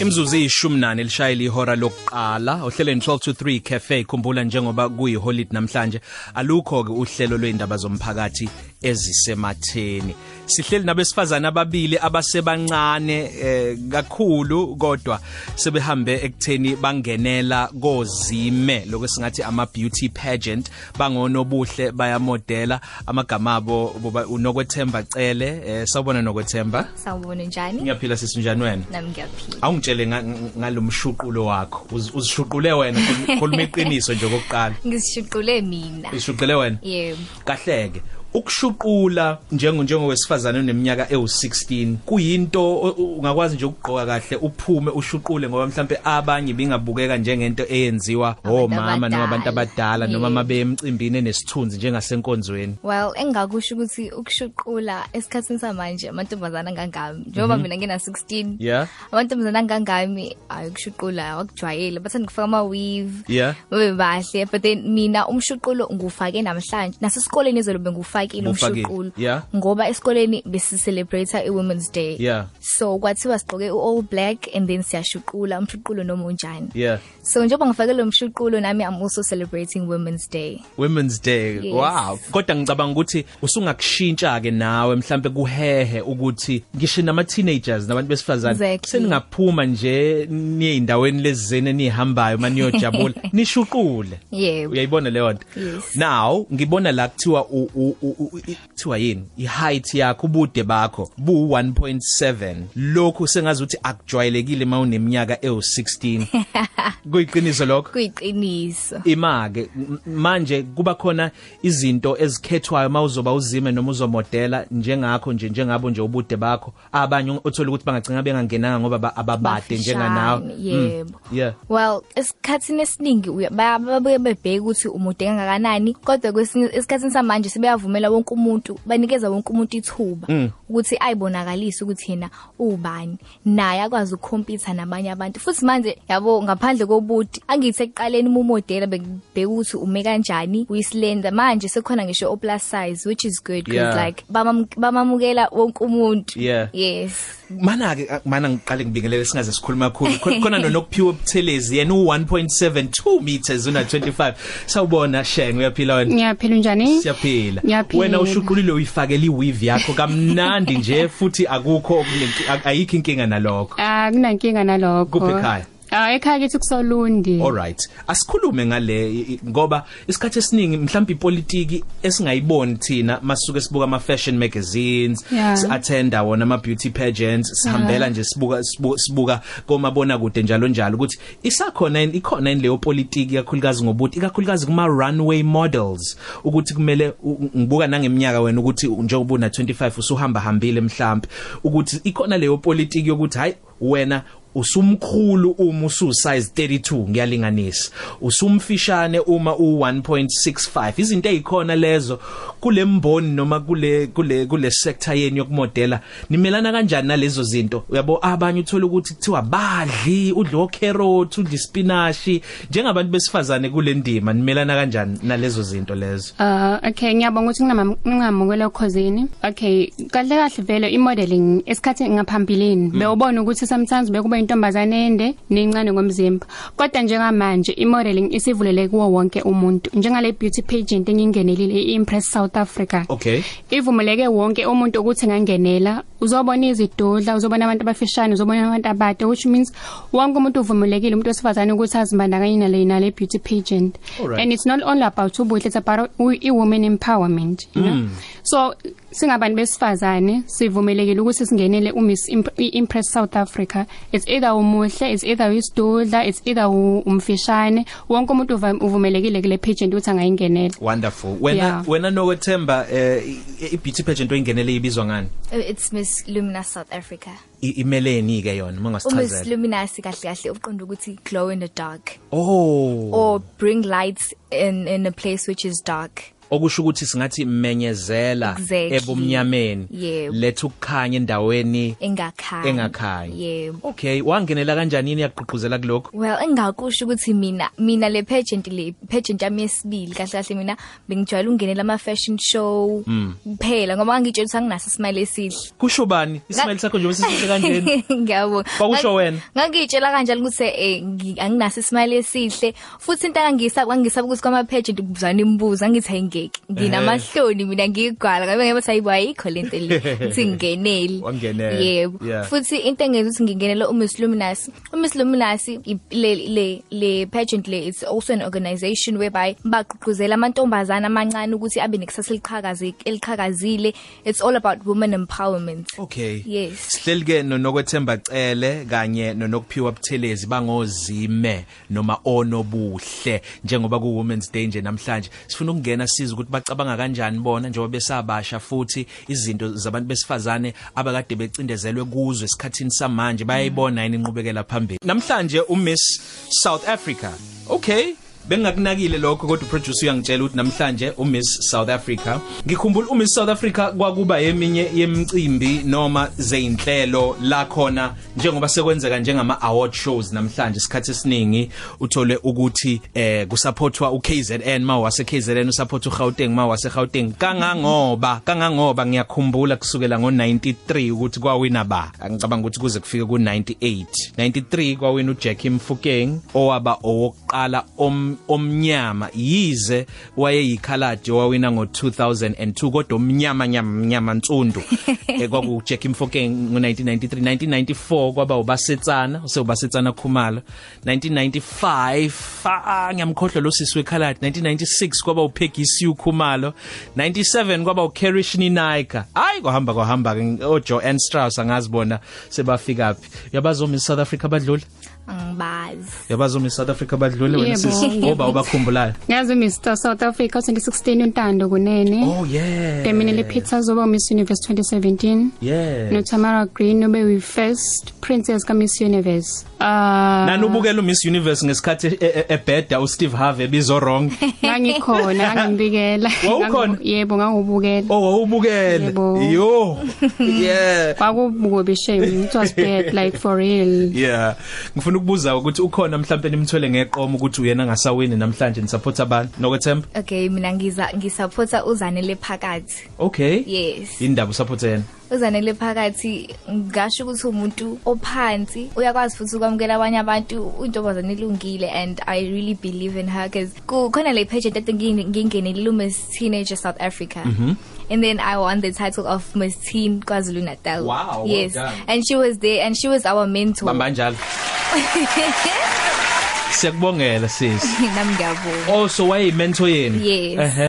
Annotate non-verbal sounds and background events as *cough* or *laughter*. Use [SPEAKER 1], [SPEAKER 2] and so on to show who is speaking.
[SPEAKER 1] Imzuzu ishumi nane lishayile ihora lokuqala ohleleni 12 to 3 cafe khumbula njengoba kuyiholiday namhlanje alukho ke uhlelo lweindaba zomphakathi ezisematheni sihleli nabesifazana ababili abasebancane eh, kakhulu kodwa sebehambe ekutheni bangenela kozime lokusingathi ama beauty pageant bangonobuhle bayamodela amagama abo boba- unokwethemba cele eh, sawubona nokwethemba
[SPEAKER 2] Sawubona njani?
[SPEAKER 1] ngiyaphila sisinjani wena
[SPEAKER 2] Nami ngiyaphila.
[SPEAKER 1] awungitshele nga- ng- ngalomshuqulo wakho Uz- uzishuqule wena khul- khuluma iqiniso nje kokuqala
[SPEAKER 2] Ngisishuqule mina.
[SPEAKER 1] ishuqule wena
[SPEAKER 2] Yebo.
[SPEAKER 1] kahleke ukushuqula njengo njengowesifazane oneminyaka ewu16 kuyinto o- o- ungakwazi nje ukugqoka kahle uphume ushuqule ngoba mhlambe abanye bingabukeka njengento eyenziwa omama noma abantu abadala noma
[SPEAKER 2] Yebo.
[SPEAKER 1] mabe emcimbini enesithunzi njengasenkonzweni
[SPEAKER 2] Well, engakusho ukuthi ukushuqula esikhatsini samanje amantombazana ngangami. Njengoba mina ngina 16.
[SPEAKER 1] Mhm. Yeah.
[SPEAKER 2] Amantombazana ngangami ayikushuqula awakujwayele bathanda kufaka ama weave.
[SPEAKER 1] Yeah.
[SPEAKER 2] Babe bahle but then mina umshuqulo ngufake namhlanje. Nasesikoleni ezolo bengufakile
[SPEAKER 1] Ubufakile,
[SPEAKER 2] umshuqulo.
[SPEAKER 1] yeah.
[SPEAKER 2] Ngoba esikoleni besi celebrate i Women's Day.
[SPEAKER 1] Yeah.
[SPEAKER 2] So kwathiwa sigqoke u all black and then siyashuqula umshuqulo noma unjani.
[SPEAKER 1] yeah
[SPEAKER 2] So njengoba ngifake lo mshuqulo nami I'm also celebrating Women's Day.
[SPEAKER 1] Women's Day.
[SPEAKER 2] Yes.
[SPEAKER 1] Wow. Kodwa ngicabanga ukuthi usungakushintsha ke nawe mhlambe kuhehe ukuthi ngisho nama teenagers nabantu besifazane
[SPEAKER 2] Exactly.
[SPEAKER 1] seningaphuma nje niye endaweni lezizene nihambayo
[SPEAKER 2] *laughs*
[SPEAKER 1] maniyojabula nishuqule.
[SPEAKER 2] Yebo.
[SPEAKER 1] Uyayibona leyo nto.
[SPEAKER 2] Yes.
[SPEAKER 1] Now ngibona la kuthiwa u- u- u- u- i- kuthiwa yini? I height yakho ubude bakho bu 1.7. Lokhu sengazi ukuthi akujwayelekile mawuneminyaka
[SPEAKER 2] *laughs*
[SPEAKER 1] ewu16. Kuyiqiniso lokho?
[SPEAKER 2] Kuyiqiniso.
[SPEAKER 1] imake manje kuba khona izinto ezikhethwayo mawuzoba uzime noma uzomodela njengakho nje njengabo nje ubude bakho abanye othola ukuthi bangacinga bengangenanga ngoba ba- ababade njenganawe
[SPEAKER 2] Bafishane,
[SPEAKER 1] Mm,
[SPEAKER 2] Yebo.
[SPEAKER 1] yeah
[SPEAKER 2] Well, esikhatsini esiningi uya- baya- babuye bebheke ukuthi umuntu engakanani kodwa kwesinye esikhatsini samanje sebeyavumela wonke umuntu banikeza wonke umuntu ithuba
[SPEAKER 1] Mm.
[SPEAKER 2] ukuthi ayibonakalise ukuthi yena ubani naye akwazi ukukhompitha nabanye abantu futhi manje yabo ngaphandle kobuthi angithi ekuqaleni umodela bekubheka ukuthi ume kanjani uyislender manje sekhona ngisho o plus size which is good because
[SPEAKER 1] Yeah.
[SPEAKER 2] like bamam- bamamukela wonke umuntu
[SPEAKER 1] Yeah.
[SPEAKER 2] yes
[SPEAKER 1] mana ke mana ngiqale ngibingelele singaze sikhuluma kakhulu Khona- khona nonokuphiwa obuthelezi yena u1.72 meters una 25 sawubona sheng uyaphila wena
[SPEAKER 3] Ngiyaphila njani?
[SPEAKER 1] siyaphila
[SPEAKER 3] Ngiyaphila.
[SPEAKER 1] wena ushuqulile uyifakele iweave yakho kamnandi nje futhi akukho okunenki- ak- ayikho inkinga nalokho
[SPEAKER 3] Ah kunankinga nalokho.
[SPEAKER 1] Kuphi ekhaya?
[SPEAKER 3] Ah ekhaya kithi kusolundi.
[SPEAKER 1] Alright. Asikhulume ngale i- i- ngoba isikhathi esiningi mhlawumbe ipolitiki esingayiboni thina masuke sibuka ama fashion magazines,
[SPEAKER 3] Yeah.
[SPEAKER 1] si-attenda wona ama beauty pageants, sihambela nje sibuka sibu- sibuka komabona kude njalo njalo ukuthi isakhona yini- ikhona yini leyo politiki kakhulukazi ngobuthi, ikakhulukazi kuma runway models ukuthi kumele u- ngibuka nangeminyaka wena ukuthi njengoba una 25 usuhamba hambile mhlawumbe ukuthi ikhona leyo politiki yokuthi hayi wena usumkhulu uma usu size 32 ngiyalinganisa usumfishane uma u1.65 izinto ezikhona lezo kulemboni noma kule kule kule sector yenu yokumodela nimelana kanjani nalezo zinto uyabo abanye uthola ukuthi kuthiwa badli udlo carrot udli spinach njengabantu besifazane kule ndima nimelana kanjani nalezo zinto lezo
[SPEAKER 3] Ah okay ngiyabonga ukuthi nginama- ngingamukela ukhosini. Okay kahle kahle vele i-modeling esikhathi ngaphambilini bewubona ukuthi sometimes bekuba intombazane ende nencane ngomzimba. Kodwa njengamanje i-modeling isivulele kuwo wonke umuntu. Njengale beauty pageant engingenelile i-Impress South Africa.
[SPEAKER 1] okay
[SPEAKER 3] ivumeleke wonke umuntu ukuthi engangenela uzobona izidudla uzobona abantu abafishane uzobona abantu abade which means wonke umuntu uvumelekile umuntu wesifazane ukuthi azimbandakanye nale nale beauty pageant
[SPEAKER 1] Alright.
[SPEAKER 3] and it's not only about ubuhle it's about u- i-women empowerment
[SPEAKER 1] Mm.
[SPEAKER 3] you know? so singabantu besifazane sivumelekile ukuthi singenele umiss Imp- i-impress south africa it's either umuhle it's either isidudla it's either u- umfishane wonke umuntu uva- uvumelekile kule pageant ukuthi angayingenela
[SPEAKER 1] wonderful wena yeah.
[SPEAKER 3] Yeah.
[SPEAKER 1] wena nokwethemba eh, i- i beauty pageant oyingenele ibizwa ngani
[SPEAKER 2] it's Miss Lumina South Africa. Oh,
[SPEAKER 1] I- imeleni ke yona mangasichazela
[SPEAKER 2] uMiss Luminous kahle kahle uqonda ukuthi glow in the dark
[SPEAKER 1] Oh.
[SPEAKER 2] or bring lights in in a place which is dark.
[SPEAKER 1] okusho ukuthi singathi menyezela
[SPEAKER 2] Exactly.
[SPEAKER 1] ebumnyameni
[SPEAKER 2] Yebo.
[SPEAKER 1] letha ukukhanya endaweni
[SPEAKER 2] engakhaya
[SPEAKER 1] engakhaya
[SPEAKER 2] yebo
[SPEAKER 1] okay wangenela kanjani yini yaqhuquzela kuloko
[SPEAKER 2] Well engakusho ukuthi mina mina le pageant le pageant yami yesibili kahle kahle mina bengijwayele ukungenela ama fashion show kuphela ngoba ngangitshela ukuthi anginaso isimali esihle
[SPEAKER 1] kusho bani isimali sakho nje besisihle
[SPEAKER 2] *laughs*
[SPEAKER 1] kanjena
[SPEAKER 2] Ngiyabonga.
[SPEAKER 1] Kwakusho wena?
[SPEAKER 2] Ngangitshela kanjalo ukuthi eh ngi- anginaso isimali esihle futhi into angisa kwangisaba ukuthi kwama pageant kubuzana imibuzo angithi ayingeki. Nginamahloni mina ngigwala ngabe ngeke bathi ayikho lento
[SPEAKER 1] *laughs*
[SPEAKER 2] le ngithi ngingeneli.
[SPEAKER 1] Wangenela.
[SPEAKER 2] Yebo.
[SPEAKER 1] Yeah.
[SPEAKER 2] Futhi into engenza ukuthi ngingenele uMiss Luminous. uMiss Luminous i- le le le pageant le it's also an organization whereby bagqugquzela amantombazana amancane ukuthi abe nekusasa eliqhakaze eliqhakazile. It's all about women empowerment.
[SPEAKER 1] Okay.
[SPEAKER 2] Yes.
[SPEAKER 1] Sihleli ke nonokwethemba cele kanye nonokuphiwa buthelezi bangozime noma onobuhle njengoba ku Women's Day nje namhlanje. Sifuna ukungena siza ukuthi bacabanga kanjani bona njengoba besabasha futhi izinto zabantu besifazane abakade becindezelwe kuzo esikhathini samanje bayayibona yini inqubekela phambili. Namhlanje uMiss South Africa. Okay. Bengakunakile lokho kodwa uproducer uyangitshela ukuthi namhlanje uMiss South Africa ngikhumbula uMiss South Africa kwakuba yeminye yemicimbi noma zeinhlelo la khona njengoba sekwenzeka njengama award shows namhlanje isikhathi esiningi uthole ukuthi eh kusupportwa uKZN mawase KZN usupport uGauteng mawase Gauteng kangangoba kangangoba ngiyakhumbula kusukela ngo93 ukuthi kwawina ba angicabanga ukuthi kuze kufike ku98 93 kwawina uJackie Mfukeng owaba owokuqala om- omnyama yize wayeyikhaladi owawina ngo2002 kodwa omnyama nyama nyama ntsundu ekwaku Jackie Mfokeng ngo1993 1994 kwaba ubasetsana usebasetsana Khumalo 1995 ah, ngiyamkhohlwa lo sisi wekhaladi 1996 kwaba uPeggy Sue Khumalo 97 kwaba uKerish Ninaika hayi kwahamba kwahamba ke oJoanne Strauss angazibona sebafika phi yabazomi South Africa badlula
[SPEAKER 2] angibazi
[SPEAKER 1] yabazomi South Africa badlule wena
[SPEAKER 3] Yebo,
[SPEAKER 1] sisi
[SPEAKER 3] yebo.
[SPEAKER 1] oba ubakhumbulayo
[SPEAKER 3] Ngiyazi Miss South Africa 2016 uNtando kunene.
[SPEAKER 1] oh yeah
[SPEAKER 3] Deminile Peter zoba Miss Universe 2017.
[SPEAKER 1] yeah
[SPEAKER 3] No Tamara Green ube we first princess ka Miss Universe. Ah
[SPEAKER 1] nanubukela uMiss Universe ngesikhathi e- e- ebhedda uSteve Harvey bizo wrong
[SPEAKER 3] ngangikhona ngangibikela.
[SPEAKER 1] Wawukhona?
[SPEAKER 3] Yebo ngangubukela.
[SPEAKER 1] owawubukele
[SPEAKER 3] Yebo.
[SPEAKER 1] Oh, yo yeah
[SPEAKER 3] Kwakubukubi shame it was bad like for real.
[SPEAKER 1] yeah ngifuna ukubuza ukuthi ukhona mhlawumbe nimthwele ngeqomo ukuthi uyena ngasawini namhlanje nisupport abantu nokwethemba
[SPEAKER 2] okay mina ngiza ngisupporta uzanele phakathi
[SPEAKER 1] okay
[SPEAKER 2] yes
[SPEAKER 1] indaba usupport yena
[SPEAKER 2] uzanele phakathi ngasho ukuthi umuntu ophansi uyakwazi futhi ukwamukela abanye abantu intombazane ilungile and i really believe in her cuz khona le page that ngingenele Miss Teenager South Africa
[SPEAKER 1] Mm-hmm.
[SPEAKER 2] and then i won the title of Miss Teen KwaZulu Natal
[SPEAKER 1] Wow, well
[SPEAKER 2] yes
[SPEAKER 1] done.
[SPEAKER 2] and she was there and she was our mentor
[SPEAKER 1] bamba
[SPEAKER 2] *laughs*
[SPEAKER 1] njalo siyakubongela sis
[SPEAKER 2] nami ngiyabonga
[SPEAKER 1] also waye mentor yenu
[SPEAKER 2] Yes.
[SPEAKER 1] Ehhe.